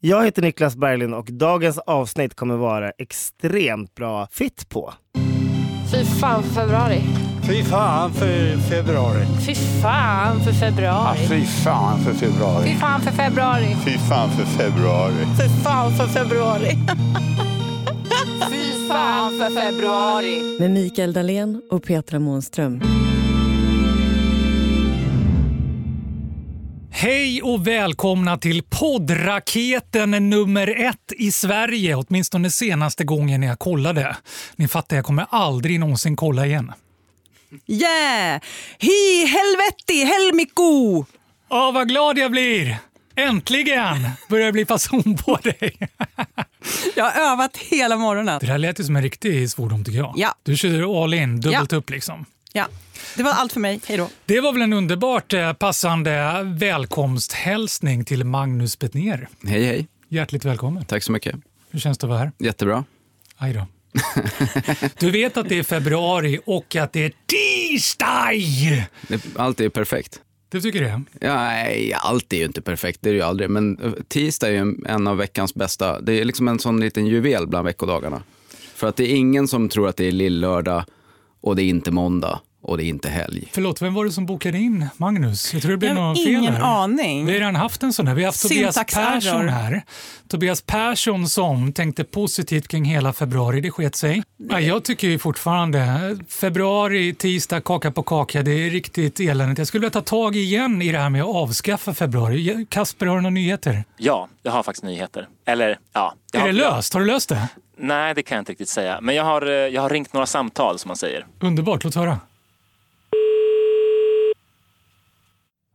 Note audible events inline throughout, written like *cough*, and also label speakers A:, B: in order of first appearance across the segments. A: Jag heter Niklas Berglind och dagens avsnitt kommer vara extremt bra fit på.
B: Fy fan för februari.
C: Fy fan för februari.
B: Fy fan för februari.
C: Ah, Fy fan för februari.
B: fan för februari.
D: Fy fan för februari.
B: Fy fan för februari. Fy fan för februari.
E: Med Mikael Dahlén och Petra Månström.
F: Hej och välkomna till poddraketen nummer ett i Sverige, åtminstone senaste gången jag kollade. Ni fattar, jag kommer aldrig någonsin kolla igen.
G: Yeah! Hi helvetti helmikku!
F: Ja, vad glad jag blir! Äntligen börjar det bli fason på dig.
G: Jag har övat hela morgonen.
F: Det där lät ju som en riktig svordom tycker jag.
G: Ja.
F: Du körde all in, dubbelt
G: Ja.
F: upp liksom.
G: Ja, det var allt för mig. Hej då.
F: Det var väl en underbart eh, passande välkomsthälsning till Magnus Petner.
H: Hej, hej.
F: Hjärtligt välkommen.
H: Tack så mycket.
F: Hur känns det att vara här?
H: Jättebra.
F: Aj då. *laughs* Du vet att det är februari och att det är tisdag!
H: Det- Allt är ju perfekt.
F: Du tycker det?
H: Ja, nej, allt är ju inte perfekt, det är det ju aldrig. Men eh, tisdag är ju en- en av veckans bästa. Det är liksom en sån liten juvel bland veckodagarna. För att det är ingen som tror att det är lillördag och det är inte måndag och det är inte helg.
F: Förlåt, vem var det som bokade in Magnus? Jag tror det blev
G: Jag har
F: något fel
G: ingen
F: här.
G: aning.
F: Vi har redan haft en sån här. Vi har haft Tobias
G: Syntaxerror.
F: Persson här. Tobias Persson som tänkte positivt kring hela februari, det sket sig. Ja, jag tycker ju fortfarande, eh, februari, tisdag, kaka på kaka, det är riktigt eländigt. Jag skulle vilja ta tag igen i det här med att avskaffa februari. Kasper, har du några nyheter?
I: Ja, jag har faktiskt nyheter. Eller ja. Jag
F: Är
I: har,
F: det löst? Har du löst det?
I: Nej, det kan jag inte riktigt säga. Men jag har, eh, jag har ringt några samtal som man säger.
F: Underbart, låt höra.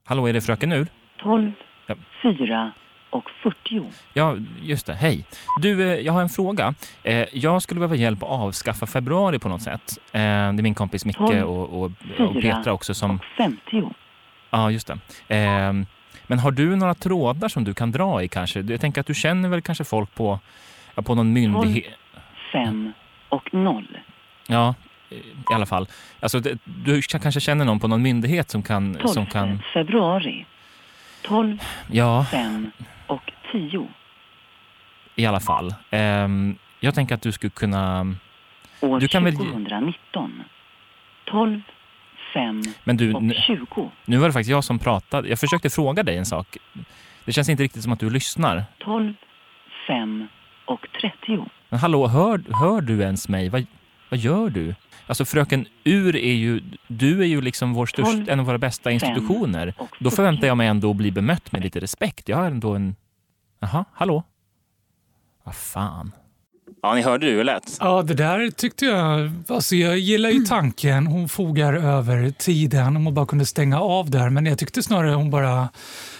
I: Hallå, är det fröken Ur?
J: 12,
I: Ja.
J: 4 och 40.
I: Ja, just det. Hej. Du, eh, jag har en fråga. Eh, Jag skulle behöva hjälp att avskaffa februari på något sätt. Eh, Det är min kompis Micke
J: Tolv,
I: och, och, och
J: fyra
I: Petra också som...
J: och 50.
I: Ja, just det. Eh, Men har du några trådar som du kan dra i kanske? Jag tänker att du känner väl kanske folk på, ja, på någon myndighet?
J: 5 och 0.
I: Ja, eh, i alla fall. Alltså, det- du k- kanske känner någon på någon myndighet som kan...
J: 12
I: Som kan
J: februari. 12,
I: ja,
J: 5 och 10.
I: i alla fall. Ehm, jag tänker att du skulle kunna...
J: År
I: Du kan väl-
J: 2019. 12, 5
I: Men du,
J: och
I: nu-
J: 20.
I: nu var det faktiskt jag som pratade. Jag försökte fråga dig en sak. Det känns inte riktigt som att du lyssnar.
J: 12, 5 och 30.
I: Men hallå, hör, hör du ens mig? Vad, vad gör du? Alltså fröken Ur är ju... Du är ju liksom vår
J: Tolv,
I: störst, en av våra bästa institutioner.
J: och
I: Då förväntar
J: fyrtio.
I: jag mig ändå att bli bemött med lite respekt. Jag har ändå en... Jaha, hallå? Vad fan.
D: Ja, ni hörde hur det lät.
F: Ja, det där tyckte jag... Alltså jag gillar
G: Mm.
F: ju tanken. Hon fogar över tiden om hon bara kunde stänga av där. Men jag tyckte snarare hon bara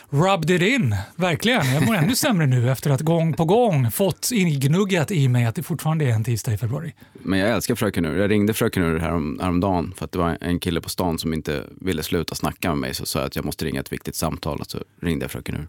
F: rubbed it in. Verkligen. Jag mår ännu sämre nu efter att gång på gång fått ingnuggat i mig att det fortfarande är en tisdag i februari.
H: Men jag älskar Fröken Ur. Jag ringde Fröken Ur härom, häromdagen för att det var en kille på stan som inte ville sluta snacka med mig. Så sa jag att jag måste ringa ett viktigt samtal och så ringde jag Fröken Ur.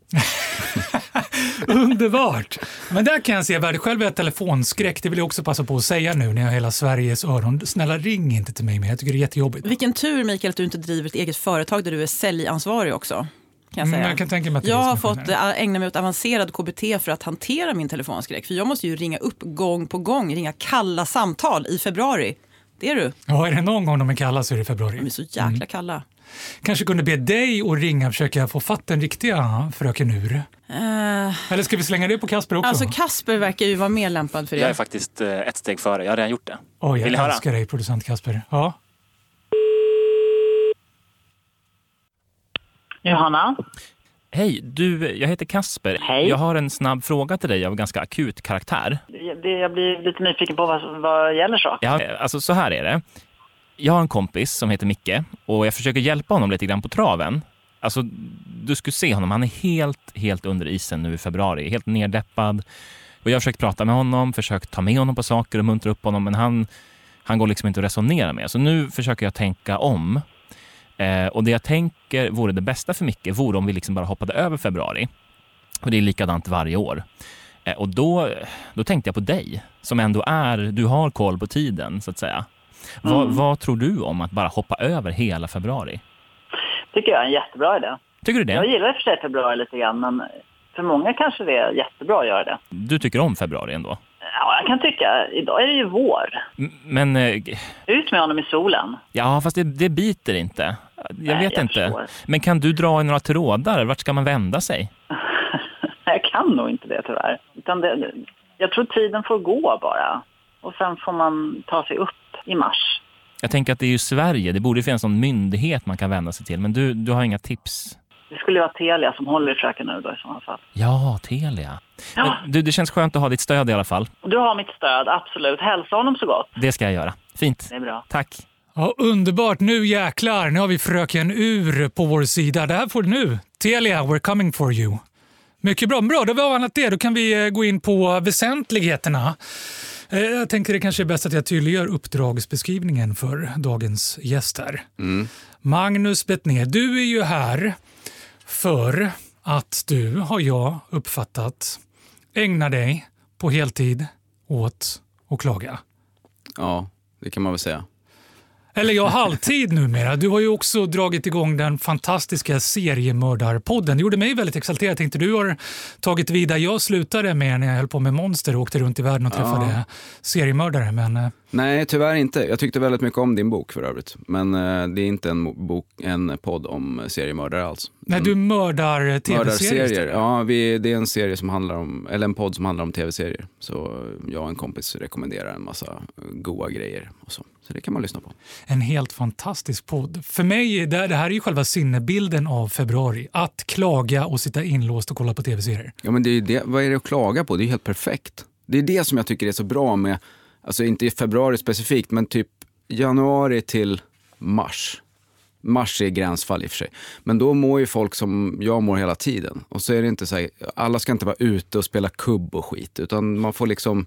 F: Underbart! Men där kan jag se värde. Själv är jag telefonskräck. Det vill jag också passa på att säga nu när jag har hela Sveriges öron. Snälla ring inte till mig mer. Jag tycker det är jättejobbigt.
G: Vilken tur, Mikael, att du inte driver ett eget företag där du är säljansvarig också. Kan jag,
F: Mm,
G: säga.
F: jag kan tänka mig att det är
G: jag
F: det som är
G: har fått
F: skillnaden.
G: ä, ägna mig åt avancerad KBT för att hantera min telefonskräck. För jag måste ju ringa upp gång på gång, ringa kalla samtal i februari. Det är du.
F: Ja, är det någon gång de är kalla så är det i februari.
G: De är så
F: Mm.
G: jäkla kalla.
F: Kanske kunde be dig att ringa och försöka få fatt den riktiga fröken Ur.
G: Eh,
F: Eller ska vi slänga det på Kasper också?
G: alltså Kasper verkar ju vara mer lämpad för det.
I: faktiskt eh, ett steg före. Jag har redan gjort det.
F: Oj, jag
I: Vill ni höra?
F: älskar dig producent Kasper. Ja.
J: Johanna?
I: Hej, du, jag heter Kasper.
J: Hej.
I: Jag har en snabb fråga till dig av ganska akut karaktär.
J: Det, jag blir lite nyfiken på vad, vad gäller så.
I: Jag, alltså, så här är det. Jag har en kompis som heter Micke och jag försöker hjälpa honom lite grann på traven. Alltså, du skulle se honom. Han är helt, helt under isen nu i februari. Helt neddeppad. Och jag har försökt prata med honom, försökt ta med honom på saker och muntra upp honom, men han, han går liksom inte att resonera med. Så nu försöker jag tänka om. Eh, och det jag tänker vore det bästa för Micke vore om vi liksom bara hoppade över februari. Och det är likadant varje år. Eh, och då, då tänkte jag på dig, som ändå är, du har koll på tiden så att säga. Vad,
J: Mm.
I: vad tror du om att bara hoppa över hela februari?
J: tycker jag är en jättebra idé.
I: Tycker du det?
J: Jag gillar i och för sig februari lite grann, men För många kanske det är jättebra att göra det.
I: Du tycker om februari ändå.
J: Ja, jag kan tycka. Idag är det ju vår.
I: M- Men eh,
J: Ut med honom i solen. *laughs*
I: ja, fast det, det biter inte. Jag
J: Nej,
I: vet
J: jag
I: inte.
J: förstår.
I: Men kan du dra i några trådar? Vart ska man vända sig?
J: Jag kan nog inte det tyvärr. Utan det, jag tror tiden får gå bara. Och sen får man ta sig upp i mars.
I: Jag tänker att det är ju Sverige. Det borde finnas någon myndighet man kan vända sig till. Men du, du har inga tips?
J: Det skulle ju vara Telia som håller i fröken nu då i sådana fall.
I: Ja, Telia. Men
J: Ja.
I: Du, det känns skönt att ha ditt stöd i alla fall.
J: Och du har mitt stöd, absolut. Hälsa honom så gott.
I: Det ska jag göra. Fint.
J: Det är bra.
I: Tack.
F: Ja, underbart. Nu jäklar, nu har vi Fröken Ur på vår sida. Det här får du nu. Telia, we're coming for you. Mycket bra. Bra, då har vi avhandlat det. Då kan vi eh, gå in på väsentligheterna. Eh, Jag tänker det kanske är bäst att jag tydliggör uppdragsbeskrivningen för dagens gäster. Magnus Bettner, du är ju här för att du, har jag uppfattat, ägnar dig på heltid åt att klaga.
H: Ja, det kan man väl säga.
F: Eller ja, halvtid numera. Du har ju också dragit igång den fantastiska seriemördarpodden. Det gjorde mig väldigt exalterad. Jag tänkte du har tagit vidare. Jag slutade med när jag höll på med monster och åkte runt i världen och träffade seriemördare. Men eh,
H: Nej, tyvärr inte. Jag tyckte väldigt mycket om din bok för övrigt. Men eh, det är inte en, mo- bok, en podd om eh, seriemördare alls.
F: när du mördar eh, tv-serier.
H: Mm. Mördarserier. Ja, vi, det är en serie som handlar om, eller en podd som handlar om tv-serier. Så eh, jag och en kompis rekommenderar en massa eh, goa grejer och så. Så det kan man lyssna på.
F: En helt fantastisk podd. För mig, det, det här är ju själva sinnebilden av februari. Att klaga och sitta inlåst och kolla på tv-serier.
H: Ja, men det är ju det, vad är det att klaga på? Det är ju helt perfekt. Det är det som jag tycker är så bra med, alltså inte i februari specifikt, men typ januari till mars. Mars är gränsfall i och för sig. Men då mår ju folk som jag mår hela tiden. Och så är det inte så här, alla ska inte vara ute och spela kubb och skit, utan man får liksom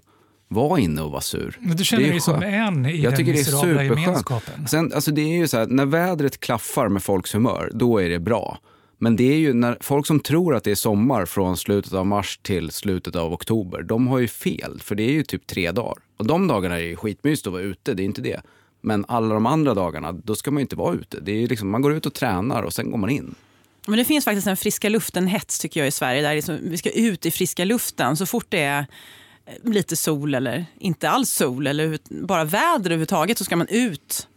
H: vara inne och vara sur.
F: Men Du känner
H: Det är
F: dig som
H: skönt.
F: en i
H: Jag
F: den
H: tycker det är
F: miserabla
H: superskönt.
F: gemenskapen.
H: Sen, alltså det är ju så här, när vädret klaffar med folks humör, då är det bra. Men det är ju när folk som tror att det är sommar från slutet av mars till slutet av oktober, de har ju fel. För det är ju typ tre dagar. Och de dagarna är ju skitmysigt att vara ute, det är inte det. Men alla de andra dagarna, då ska man ju inte vara ute. Det är ju liksom, man går ut och tränar och sen går man in.
G: Men det finns faktiskt en friska luften-hets tycker jag i Sverige. Där det är som- vi ska ut i friska luften så fort det är eh, lite sol eller inte alls sol eller huvud- bara väder överhuvudtaget så ska man ut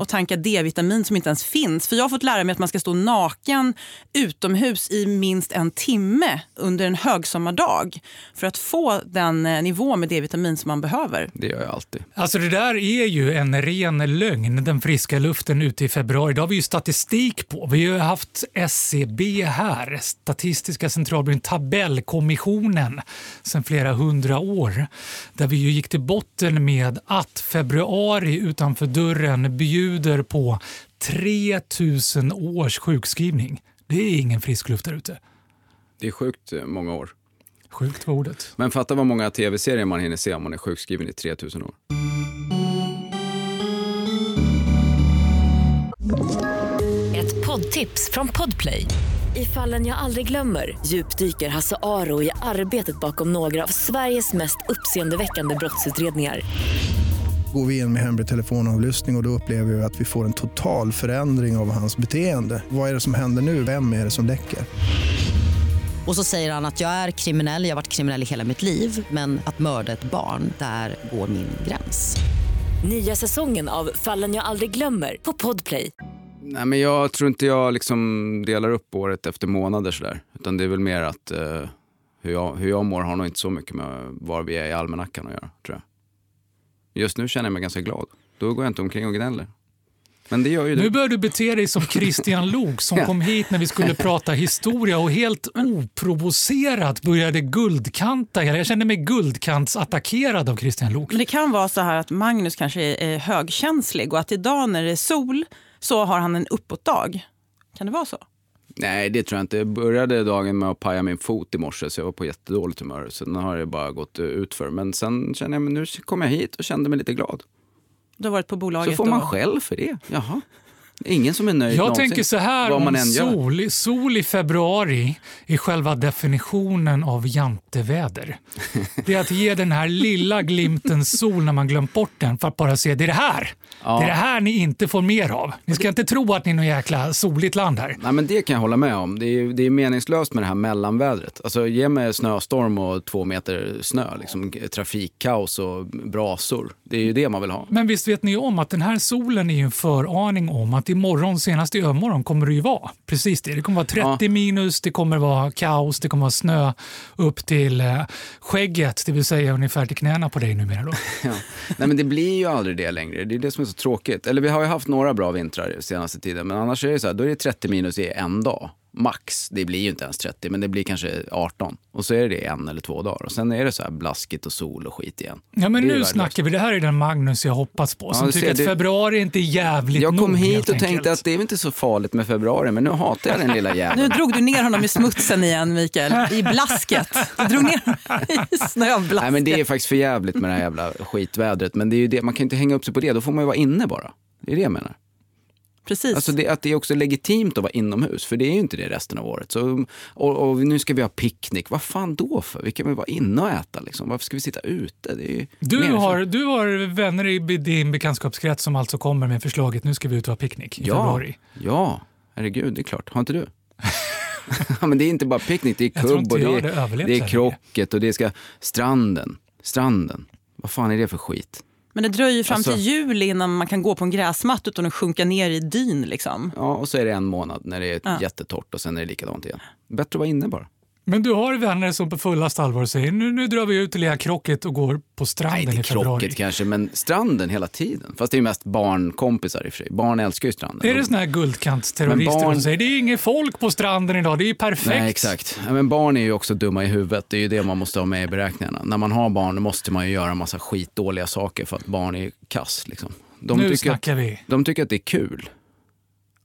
G: och tanka D-vitamin som inte ens finns. För jag har fått lära mig att man ska stå naken utomhus i minst en timme under en högsommardag för att få den eh, nivå med D-vitamin som man behöver.
H: Det gör jag alltid.
F: Alltså det där är ju en ren lögn, den friska luften ute i februari. Det har vi ju statistik på. Vi har ju haft SCB här, Statistiska centralbyrån, tabellkommissionen, sedan flera hundra år. Där vi ju gick till botten med att februari utanför dörren bjuder på 3000 års sjukskrivning. Det är ingen frisk luft där ute.
H: Det är sjukt eh, många år.
F: Sjukt var ordet.
H: Men fatta vad många tv-serier man hinner se om man är sjukskriven i 3000 år.
K: Ett poddtips från Podplay. I fallen jag aldrig glömmer djupdyker Hasse Aro i arbetet bakom några av Sveriges mest uppseendeväckande brottsutredningar.
L: Går vi in med hemlig telefonavlyssning och, och då upplever vi att vi får en total förändring av hans beteende. Vad är det som händer nu? Vem är det som läcker?
M: Och så säger han att jag är kriminell, jag har varit kriminell i hela mitt liv men att mörda ett barn, där går min gräns.
K: Nya säsongen av Fallen jag aldrig glömmer på Podplay.
H: Nej, men jag tror inte jag liksom delar upp året efter månader sådär. Utan det är väl mer att eh, hur, jag, hur jag mår har nog inte så mycket med var vi är i almanackan att göra, tror jag. Just nu känner jag mig ganska glad. Då går jag inte omkring och gnäller. Men det gör ju
F: Nu
H: du.
F: börjar du bete dig som Christian Lok
H: *laughs*
F: som kom hit när vi skulle prata historia och helt oprovocerat började guldkanta hela. Jag kände mig guldkantsattackerad av Christian Lok.
G: Men det kan vara så här att Magnus kanske är är högkänslig och att idag när det är sol så har han en uppåtdag. Kan det vara så?
H: Nej, det tror jag inte. Jag började dagen med att paja min fot i morse, så jag var på jättedåligt humör. Sen har det bara gått eh, utför. Men sen känner jag, men nu kom jag hit och kände mig lite glad.
G: Du har varit på bolaget
H: Så får man
G: och...
H: skäll för det. Jaha. Ingen som är nöjd
F: Jag
H: någonsin,
F: tänker så här
H: vad man
F: om
H: än gör.
F: sol, sol i februari är själva definitionen av
H: *laughs*
F: janteväder. Det är att ge den här lilla glimten sol när man glömt bort den för att bara se det är det här.
H: Ja.
F: Det är det här ni inte får mer av. Ni ska inte tro att ni är något jäkla soligt land här.
H: Nej, men det kan jag hålla med om. Det är, det är meningslöst med det här mellanvädret. Alltså, ge mig snöstorm och två meter snö. Liksom, trafikkaos och brasor. Det är ju det man vill ha.
F: Men visst vet ni om att den här solen är ju en föraning om att imorgon, senast i övermorgon, kommer det ju vara precis det. Det kommer vara 30 minus, det kommer vara kaos, det kommer vara snö upp till eh, skägget, det vill säga ungefär till knäna på dig numera
H: *laughs*
F: då.
H: Ja. Nej, men det blir ju aldrig det längre. Det är det som är så tråkigt. Eller vi har ju haft några bra vintrar senaste tiden, men annars är det så här, då är det 30 minus i en dag. Max. Det blir ju inte ens 30, men det blir kanske 18. Och så är det en eller två dagar. Och sen är det så här blaskigt och sol och skit igen.
F: Ja, men
H: Det är
F: nu
H: värdelöst.
F: snackar vi. Det här är den Magnus jag hoppats på,
H: Ja,
F: som
H: du
F: tycker
H: ser,
F: att
H: det-
F: februari inte är jävligt
H: Jag kom
F: nog,
H: hit
F: helt
H: och
F: enkelt.
H: tänkte att det är väl inte så farligt med februari, men nu hatar jag den
F: *laughs*
H: lilla jäveln.
G: Nu drog du ner honom i smutsen igen, Mikael. I blasket. Du drog ner honom i snöblasket.
H: Nej, men det är faktiskt för jävligt med det här jävla skitvädret. Men det är ju det, man kan ju inte hänga upp sig på det. Då får man ju vara inne bara. Det är det jag menar.
G: Precis.
H: Alltså det, att det är också legitimt att vara inomhus, för det är ju inte det resten av året. Så, och, och nu ska vi ha picknick. Vad fan då för? Vi kan väl vara inne och äta liksom. Varför ska vi sitta ute? Det är ju
F: Du
H: mer-
F: har, du har vänner i be- din bekantskapskrets som alltså kommer med förslaget nu ska vi ut och ha picknick i
H: ja,
F: februari.
H: Ja, herregud, det är klart. Har inte du? *laughs* Ja, men det är inte bara picknick, det är
F: *laughs* Jag tror
H: kubb
F: inte
H: och det
F: jag
H: är,
F: hade överlevt
H: det
F: så
H: är
F: här
H: krocket och det ska... Stranden. Stranden. Vad fan är det för skit?
G: Men det dröjer ju fram
H: Alltså-
G: till jul innan man kan gå på en gräsmatta utan att sjunka ner i dyn. Liksom.
H: Ja, och så är det en månad när det är
G: Ja.
H: jättetorrt och sen är det likadant igen. Bättre att vara inne bara.
F: Men du har vänner som på fullast allvar säger nu, nu drar vi ut och leker krocket och går på stranden
H: Inte
F: i februari.
H: krocket kanske, men stranden hela tiden. Fast det är ju mest barnkompisar i och för sig. Barn älskar ju stranden.
F: Är det såna här guldkantsterrorister
H: Men barn-
F: som säger det är inget folk på stranden idag, det är ju perfekt.
H: Nej, exakt. Ja, Men barn är ju också dumma i huvudet. Det är ju det man måste ha med i beräkningarna. När man har barn då måste man ju göra en massa skitdåliga saker för att barn är ju kass. Liksom.
F: Nu
H: tycker
F: snackar
H: att,
F: vi.
H: De tycker att det är kul.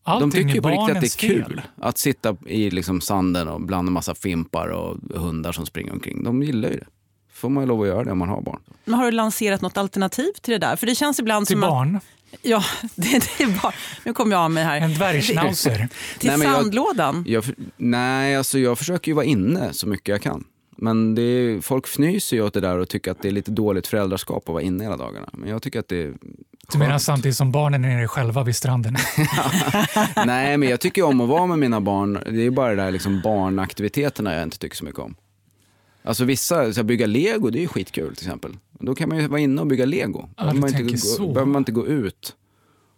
F: Allting
H: de tycker
F: är
H: ju på riktigt att
F: barnens
H: det är kul
F: fel.
H: att sitta i liksom sanden och bland en massa fimpar och hundar som springer omkring. De gillar ju det. får man ju lov att göra det om man har barn.
G: Men har du lanserat något alternativ till det där? För det känns ibland
F: Till
G: som
F: barn?
G: Att, ja, *laughs* det, det är barn. Nu kom jag av mig här. En
H: *laughs*
F: dvärgschnauzer.
G: Till
H: Nej, men jag-
G: sandlådan.
H: Jag, för- nej, alltså jag försöker ju vara inne så mycket jag kan. Men det är, folk fnyser ju åt det där och tycker att det är lite dåligt föräldraskap att vara inne hela dagarna. Men jag tycker att det är
F: Du menar samtidigt som barnen är nere själva vid stranden?
H: Nej, men jag tycker om att vara med mina barn. Det är bara det där liksom barnaktiviteterna jag inte tycker så mycket om. Alltså vissa, så här, bygga lego, det är ju skitkul till exempel. Då kan man ju vara inne och bygga lego.
F: Ja,
H: Då
F: du
H: man inte
F: tänker
H: gå,
F: så.
H: behöver man inte gå ut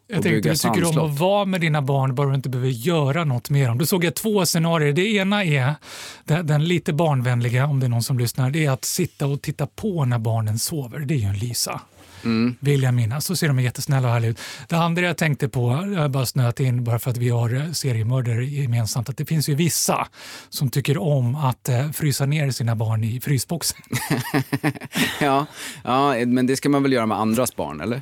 F: Jag
H: och
F: tänkte
H: bygga
F: du tycker om
H: sandslott.
F: att vara med dina barn bara du inte behöver göra något mer. Om du såg jag två scenarier. Det ena är den, den lite barnvänliga, om det är någon som lyssnar, det är att sitta och titta på när barnen sover. Det är ju en Lisa.
H: Mm.
F: Vill jag minnas. Så ser de jättesnälla och härliga ut. Det andra jag tänkte på, jag har bara snöat in bara för att vi har eh, seriemördare gemensamt, att det finns ju vissa som tycker om att eh, frysa ner sina barn i frysboxen.
H: Ja, ja, men det ska man väl göra med andras barn, eller?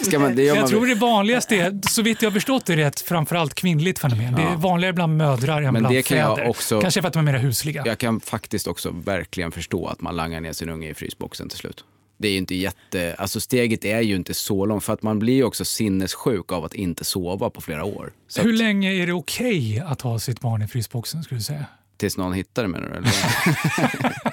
H: *laughs* ska man, det gör
F: jag
H: man
F: tror
H: väl.
F: det vanligaste är, så vitt jag har förstått det rätt, framförallt kvinnligt fenomen. Det är
H: Ja.
F: vanligare bland mödrar än
H: Men
F: bland
H: det kan jag
F: fäder.
H: också-
F: Kanske för att de är mer husliga.
H: Jag kan faktiskt också verkligen förstå att man langar ner sin unge i frysboxen till slut. Det är ju inte jätte, alltså steget är ju inte så långt för att man blir ju också sinnessjuk av att inte sova på flera år. Så
F: Hur länge är det okej att ha sitt barn i frysboxen skulle du säga?
H: tills någon hittar det menar du? Eller?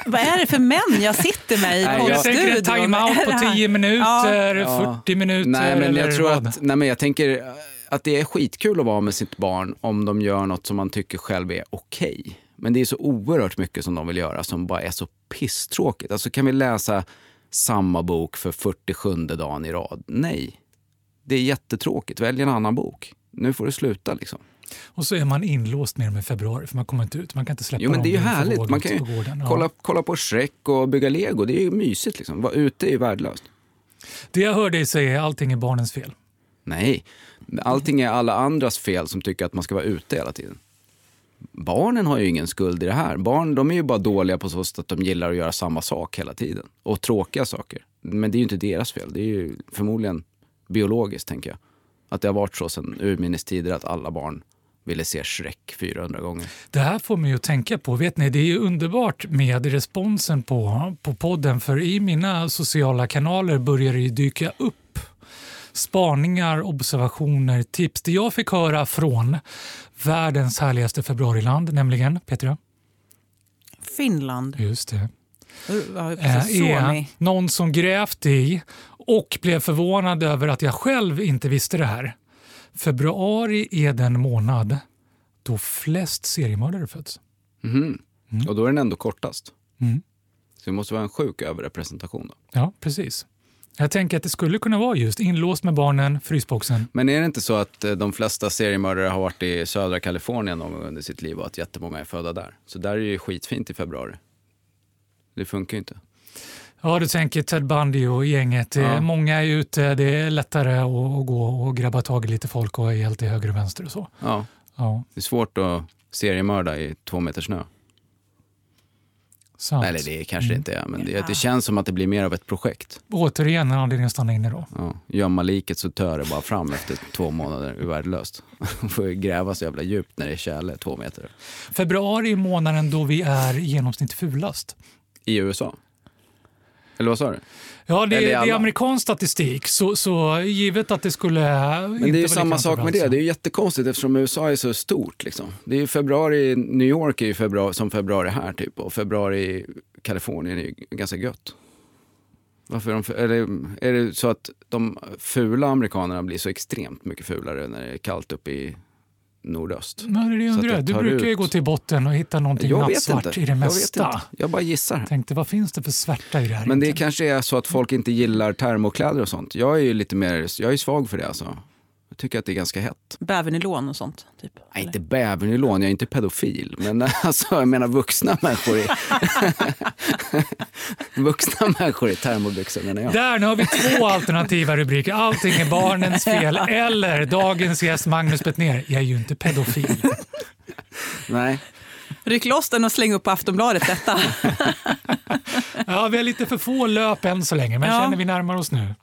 G: Vad är det för män jag sitter med i
H: Nej, jag-
F: Jag tänker en
G: poddstudion?
F: time-out
G: Är det
F: på
G: *laughs* här-
F: 10 minuter,
H: Ja.
F: 40 minuter
H: Nej, men
F: eller
H: jag tror
F: vad?
H: att, nej, men jag tänker eh, att det är skitkul att vara med sitt barn om de gör något som man tycker själv är okej. Men det är så oerhört mycket som de vill göra som bara är så pisstråkigt. Alltså kan vi läsa samma bok för 47 dagen i rad? Nej. Det är jättetråkigt. Välj en annan bok. Nu får det sluta liksom.
F: Och så är man inlåst med dem i februari för man kommer inte ut. Man kan inte släppa
H: Jo men det är ju
F: dem utanför
H: härligt.
F: vågen
H: Man kan ju
F: på gården. Ja.
H: kolla, kolla på Shrek och bygga lego. Det är ju mysigt liksom. Vara ute är ju värdelöst.
F: Det jag hör dig säga är allting är barnens fel.
H: Nej, allting är alla andras fel som tycker att man ska vara ute hela tiden. Barnen har ju ingen skuld i det här. Barn de är ju bara dåliga på så sätt att de gillar att göra samma sak hela tiden. Och tråkiga saker. Men det är ju inte deras fel. Det är ju förmodligen biologiskt, tänker jag. Att det har varit så sedan urminnes tider att alla barn ville se Shrek 400 gånger.
F: Det här får mig att tänka på, vet ni, det är ju underbart med responsen på, på podden för i mina sociala kanaler börjar det ju dyka upp spaningar, observationer, tips. Det jag fick höra från världens härligaste februariland, nämligen Petra,
G: Finland.
F: Just det.
G: Ja,
F: eh,
G: precis. Suomi.
F: är någon som grävt i och blev förvånad över att jag själv inte visste det här. Februari är den månad då flest seriemördare föds.
H: Mhm. Och då är den ändå kortast.
F: Mm.
H: Så det måste vara en sjuk överrepresentation. Då.
F: Ja, precis. Jag tänker att det skulle kunna vara just inlåst med barnen, frysboxen.
H: Men är det inte så att eh, de flesta seriemördare har varit i södra Kalifornien någon gång under sitt liv och att jättemånga är födda där? Så där är det ju skitfint i februari. Det funkar ju inte.
F: Ja, du tänker Ted Bundy och gänget. Eh,
H: Ja.
F: Många är ute, det är lättare att, att gå och grabba tag i lite folk och är helt till höger och vänster och så.
H: Ja.
F: Ja.
H: Det är svårt att seriemörda i två meter snö.
F: Sant.
H: Eller det kanske det
F: Mm.
H: inte är, men det, det känns som att det blir mer av ett projekt.
F: Återigen en anledning att stanna inne då.
H: Ja, gömma liket så tör det bara fram efter två månader. Det är värdelöst. *laughs* får ju gräva så jävla djupt när det är tjäle, två meter.
F: Februari är månaden då vi är i genomsnitt fulast.
H: I USA? Eller vad sa du?
F: Ja, det,
H: Eller i
F: det är
H: alla.
F: amerikansk statistik, så, så givet att det skulle...
H: Men det är ju samma sak med det. Det är ju jättekonstigt eftersom USA är så stort. Liksom. Det är ju februari, i New York är ju februari, som februari här typ och februari i Kalifornien är ju ganska gött. Varför är, de, f- eller, är det så att de fula amerikanerna blir så extremt mycket fulare när det är kallt uppe i nordöst?
F: Nej, det är det jag
H: Så att
F: undrar.
H: jag
F: Du
H: tar
F: brukar ju
H: ut-
F: gå till botten och hitta någonting
H: Jag vet
F: nattsvart
H: inte.
F: i det
H: Jag vet
F: mesta.
H: inte. Jag bara gissar. här.
F: Tänkte, vad finns det för svärta i det här?
H: Men det kanske är så att folk inte gillar termokläder och sånt. Jag är ju lite mer, jag är svag för det alltså. Jag tycker att det är ganska hett.
G: Bävernylon och sånt. Typ.
H: Nej, inte bävernylon, jag är inte pedofil. Men *laughs* alltså, jag menar vuxna människor i... *laughs* vuxna människor i termobyxor
F: *laughs*
H: menar jag.
F: Där, nu har vi två alternativa rubriker. Allting är barnens
H: *laughs*
F: fel eller dagens gäst Magnus Bettner. Jag är ju inte pedofil.
H: Nej.
G: Ryck loss den och släng upp på Aftonbladet detta.
F: Ja, vi har lite för få löp än så länge, men
G: Ja.
F: känner vi närmar oss nu.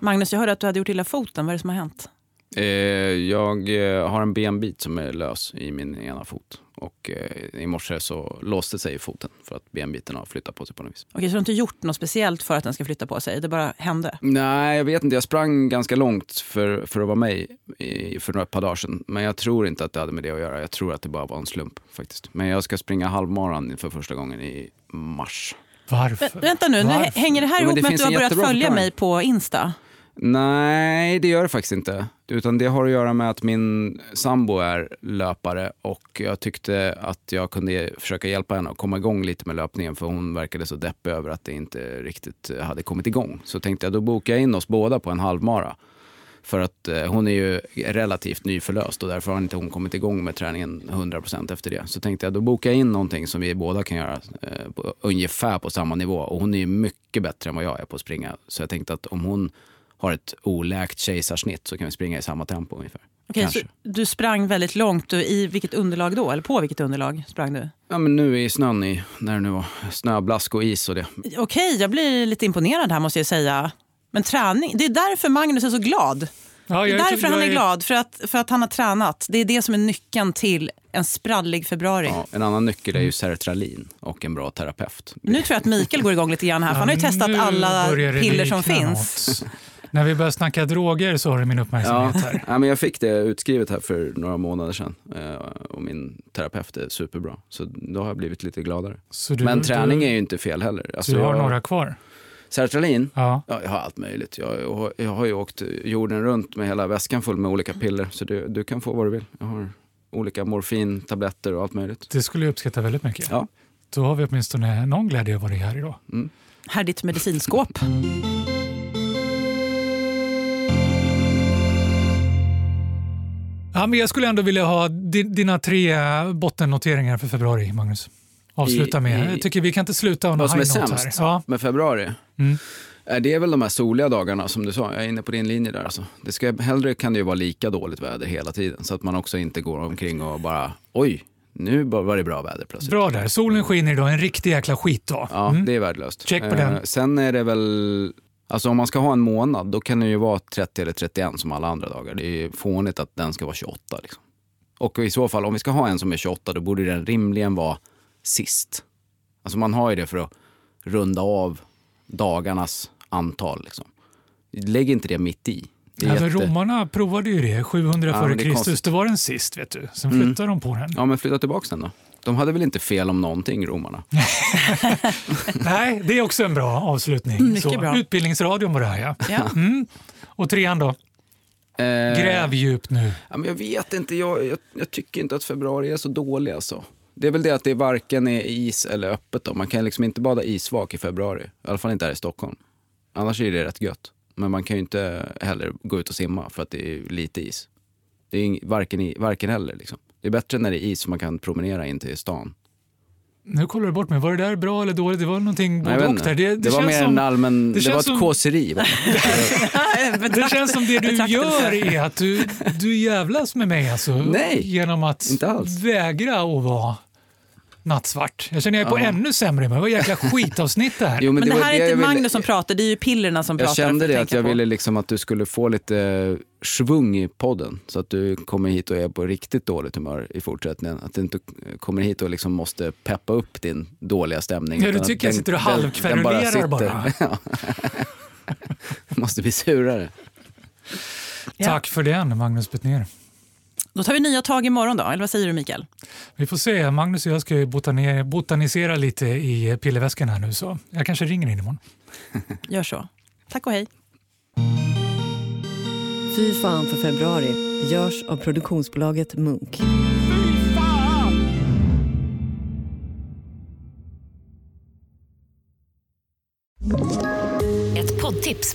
G: Magnus, jag hörde att du hade gjort illa foten. Vad är det som har hänt?
H: Eh, jag eh, har en benbit som är lös i min ena fot. Och eh, i morse så låste sig foten för att benbiten har flyttat på sig på något vis.
G: Okej, så du har inte gjort något speciellt för att den ska flytta på sig? Det bara hände?
H: Nej, jag vet inte. Jag sprang ganska långt för, för att vara mig i, för några par dagar sedan. Men jag tror inte att det hade med det att göra. Jag tror att det bara var en slump faktiskt. Men jag ska springa halvmaran för första gången i mars.
F: Varför?
G: Vä- vänta nu, nu hä-
H: Varför?
G: hänger det här
H: Jo, men
G: ihop
H: det
G: med att
H: finns
G: du har
H: en
G: börjat
H: jättebra
G: följa
H: förklaring.
G: mig på Insta?
H: Nej, det gör det faktiskt inte. Utan det har att göra med att min sambo är löpare och jag tyckte att jag kunde försöka hjälpa henne att komma igång lite med löpningen för hon verkade så deppig över att det inte riktigt eh, hade kommit igång. Så tänkte jag, då bokar jag in oss båda på en halvmara. För att eh, hon är ju relativt nyförlöst och därför har inte hon kommit igång med träningen 100% efter det. Så tänkte jag, då bokar jag in någonting som vi båda kan göra eh, på, ungefär på samma nivå. Och hon är ju mycket bättre än vad jag är på att springa. Så jag tänkte att om hon har ett oläkt kejsarsnitt så kan vi springa i samma tempo ungefär.
G: Okej, så
H: Kanske.
G: du sprang väldigt långt. Du, I vilket underlag då? Eller på vilket underlag sprang du?
H: Ja men nu är snön i, när det nu var, snöblask och is och det.
G: Okej, jag blir lite imponerad här måste jag säga. Men träning, det är därför Magnus är så glad.
F: Ja,
G: det är
F: jag är-
G: därför han
F: jag
G: är
F: är-
G: glad, för att, för att han har tränat. Det är det som är nyckeln till en sprallig februari.
H: Ja, en annan nyckel är ju sertralin och en bra terapeut.
G: Nu tror jag att Mikael går igång lite grann här, för han har ju
F: Ja,
G: testat
F: nu
G: alla
F: börjar det
G: piller som
F: likna
G: finns.
F: något. När vi börjar snacka droger så har du min
H: Ja,
F: uppmärksamhet här.
H: ja, men jag fick det utskrivet här för några månader sedan eh, och min terapeut är superbra. Så då har jag blivit lite gladare.
F: Så du-
H: men
F: du-
H: träning är ju inte fel heller. Alltså,
F: du har
H: jag-
F: några kvar.
H: Sertralin?
F: Ja.
H: jag har allt möjligt. Jag, jag, har- jag har ju åkt jorden runt med hela väskan full med olika piller. Så du, du kan få vad du vill. Jag har olika morfintabletter och allt möjligt.
F: Det skulle jag uppskatta väldigt mycket.
H: Ja.
F: Då har vi åtminstone någon glädje av vad det är här idag.
G: Här är ditt medicinskåp.
F: Ja, men jag skulle ändå vilja ha di- dina tre bottennoteringar för februari, Magnus. Avsluta
H: I-
F: med.
H: i-
F: Jag tycker vi kan inte sluta on a
H: Vad som är
F: high note här.
H: sämst
F: Ja.
H: med februari?
F: Mm.
H: Eh, Det är väl de här soliga dagarna som du sa, jag är inne på din linje där alltså. Det ska, hellre kan det ju vara lika dåligt väder hela tiden så att man också inte går omkring och bara oj, nu bara var det bra väder plötsligt.
F: Bra där. Solen skiner idag, en riktig jäkla skitdag.
H: Ja, det är värdelöst.
F: Mm. Check på
H: Eh,
F: den.
H: Sen är det väl, alltså om man ska ha en månad då kan det ju vara 30 eller 31 som alla andra dagar. Det är ju fånigt att den ska vara 28 liksom. Och i så fall, om vi ska ha en som är 28 då borde den rimligen vara sist. Alltså man har ju det för att runda av dagarnas antal. Liksom. Lägg inte det mitt i. Det är
F: Även
H: jätte-
F: romarna provade ju det 700
H: Ja,
F: före
H: men det är
F: Kristus.
H: konstigt.
F: Det var den sist, vet du. Sen
H: Mm.
F: flyttade de på den.
H: Ja, men flytta tillbaka den då. De hade väl inte fel om någonting, romarna?
F: Nej, det är också en bra avslutning.
H: Mm, mycket
F: Så,
H: bra.
F: Utbildningsradion var det här, ja.
H: *laughs* Ja.
F: Mm. Och trean då?
H: Eh.
F: Gräv djupt nu.
H: Ja, men jag vet inte, jag, jag, jag tycker inte att februari är så dålig. Alltså. Det är väl det att det varken är is eller öppet. Då. Man kan liksom inte bada isvak i februari. I alla fall inte här i Stockholm. Annars är det rätt gött. Men man kan ju inte heller gå ut och simma för att det är lite is. Det är ing, varken, i, varken heller. Liksom. Det är bättre när det är is så man kan promenera in till stan.
F: Nu kollar du bort mig. Var det där bra eller dåligt? Det var någonting
H: Nej, jag
F: både
H: vet
F: och
H: inte.
F: där. Det, det,
H: det var
F: känns
H: mer
F: som,
H: en allmän... Det,
F: känns
H: var ett
F: som- *laughs*
H: kåseri. va?
F: Det känns som det du gör är att du, du jävlas med mig alltså,
H: Nej,
F: genom att vägra att vara nattsvart. Jag känner jag är på
H: Ja.
F: ännu sämre men Vad
H: *laughs*
F: jäkla skitavsnitt det här.
H: Jo, men
G: Men
H: det
G: det,
H: var
G: här
H: det
G: är
H: jag
G: inte
H: ville-
G: Magnus som pratar, det är ju pillerna som pratar.
H: Jag kände
G: får
H: det att
G: tänka
H: jag
G: på.
H: ville liksom att du skulle få lite eh, svung i podden så att du kommer hit och är på riktigt dåligt humör i fortsättningen. Att du inte eh, kommer hit och liksom måste peppa upp din dåliga stämning.
F: Ja, du
H: utan att
F: tycker jag
H: den-
F: sitter och
H: den- den
F: halvkverulerar
H: sitter.
F: bara.
H: *laughs* Ja. måste bli surare.
F: Tack för den Magnus Betnér.
G: Då tar vi nya tag imorgon då, eller vad säger du Mikael?
F: Vi får se. Magnus och jag ska ju botani- botanisera lite i pillerväskan här nu så jag kanske ringer in imorgon.
G: Gör så. Tack och hej.
E: Fy fan för februari görs av produktionsbolaget Munk.
K: Ett poddtips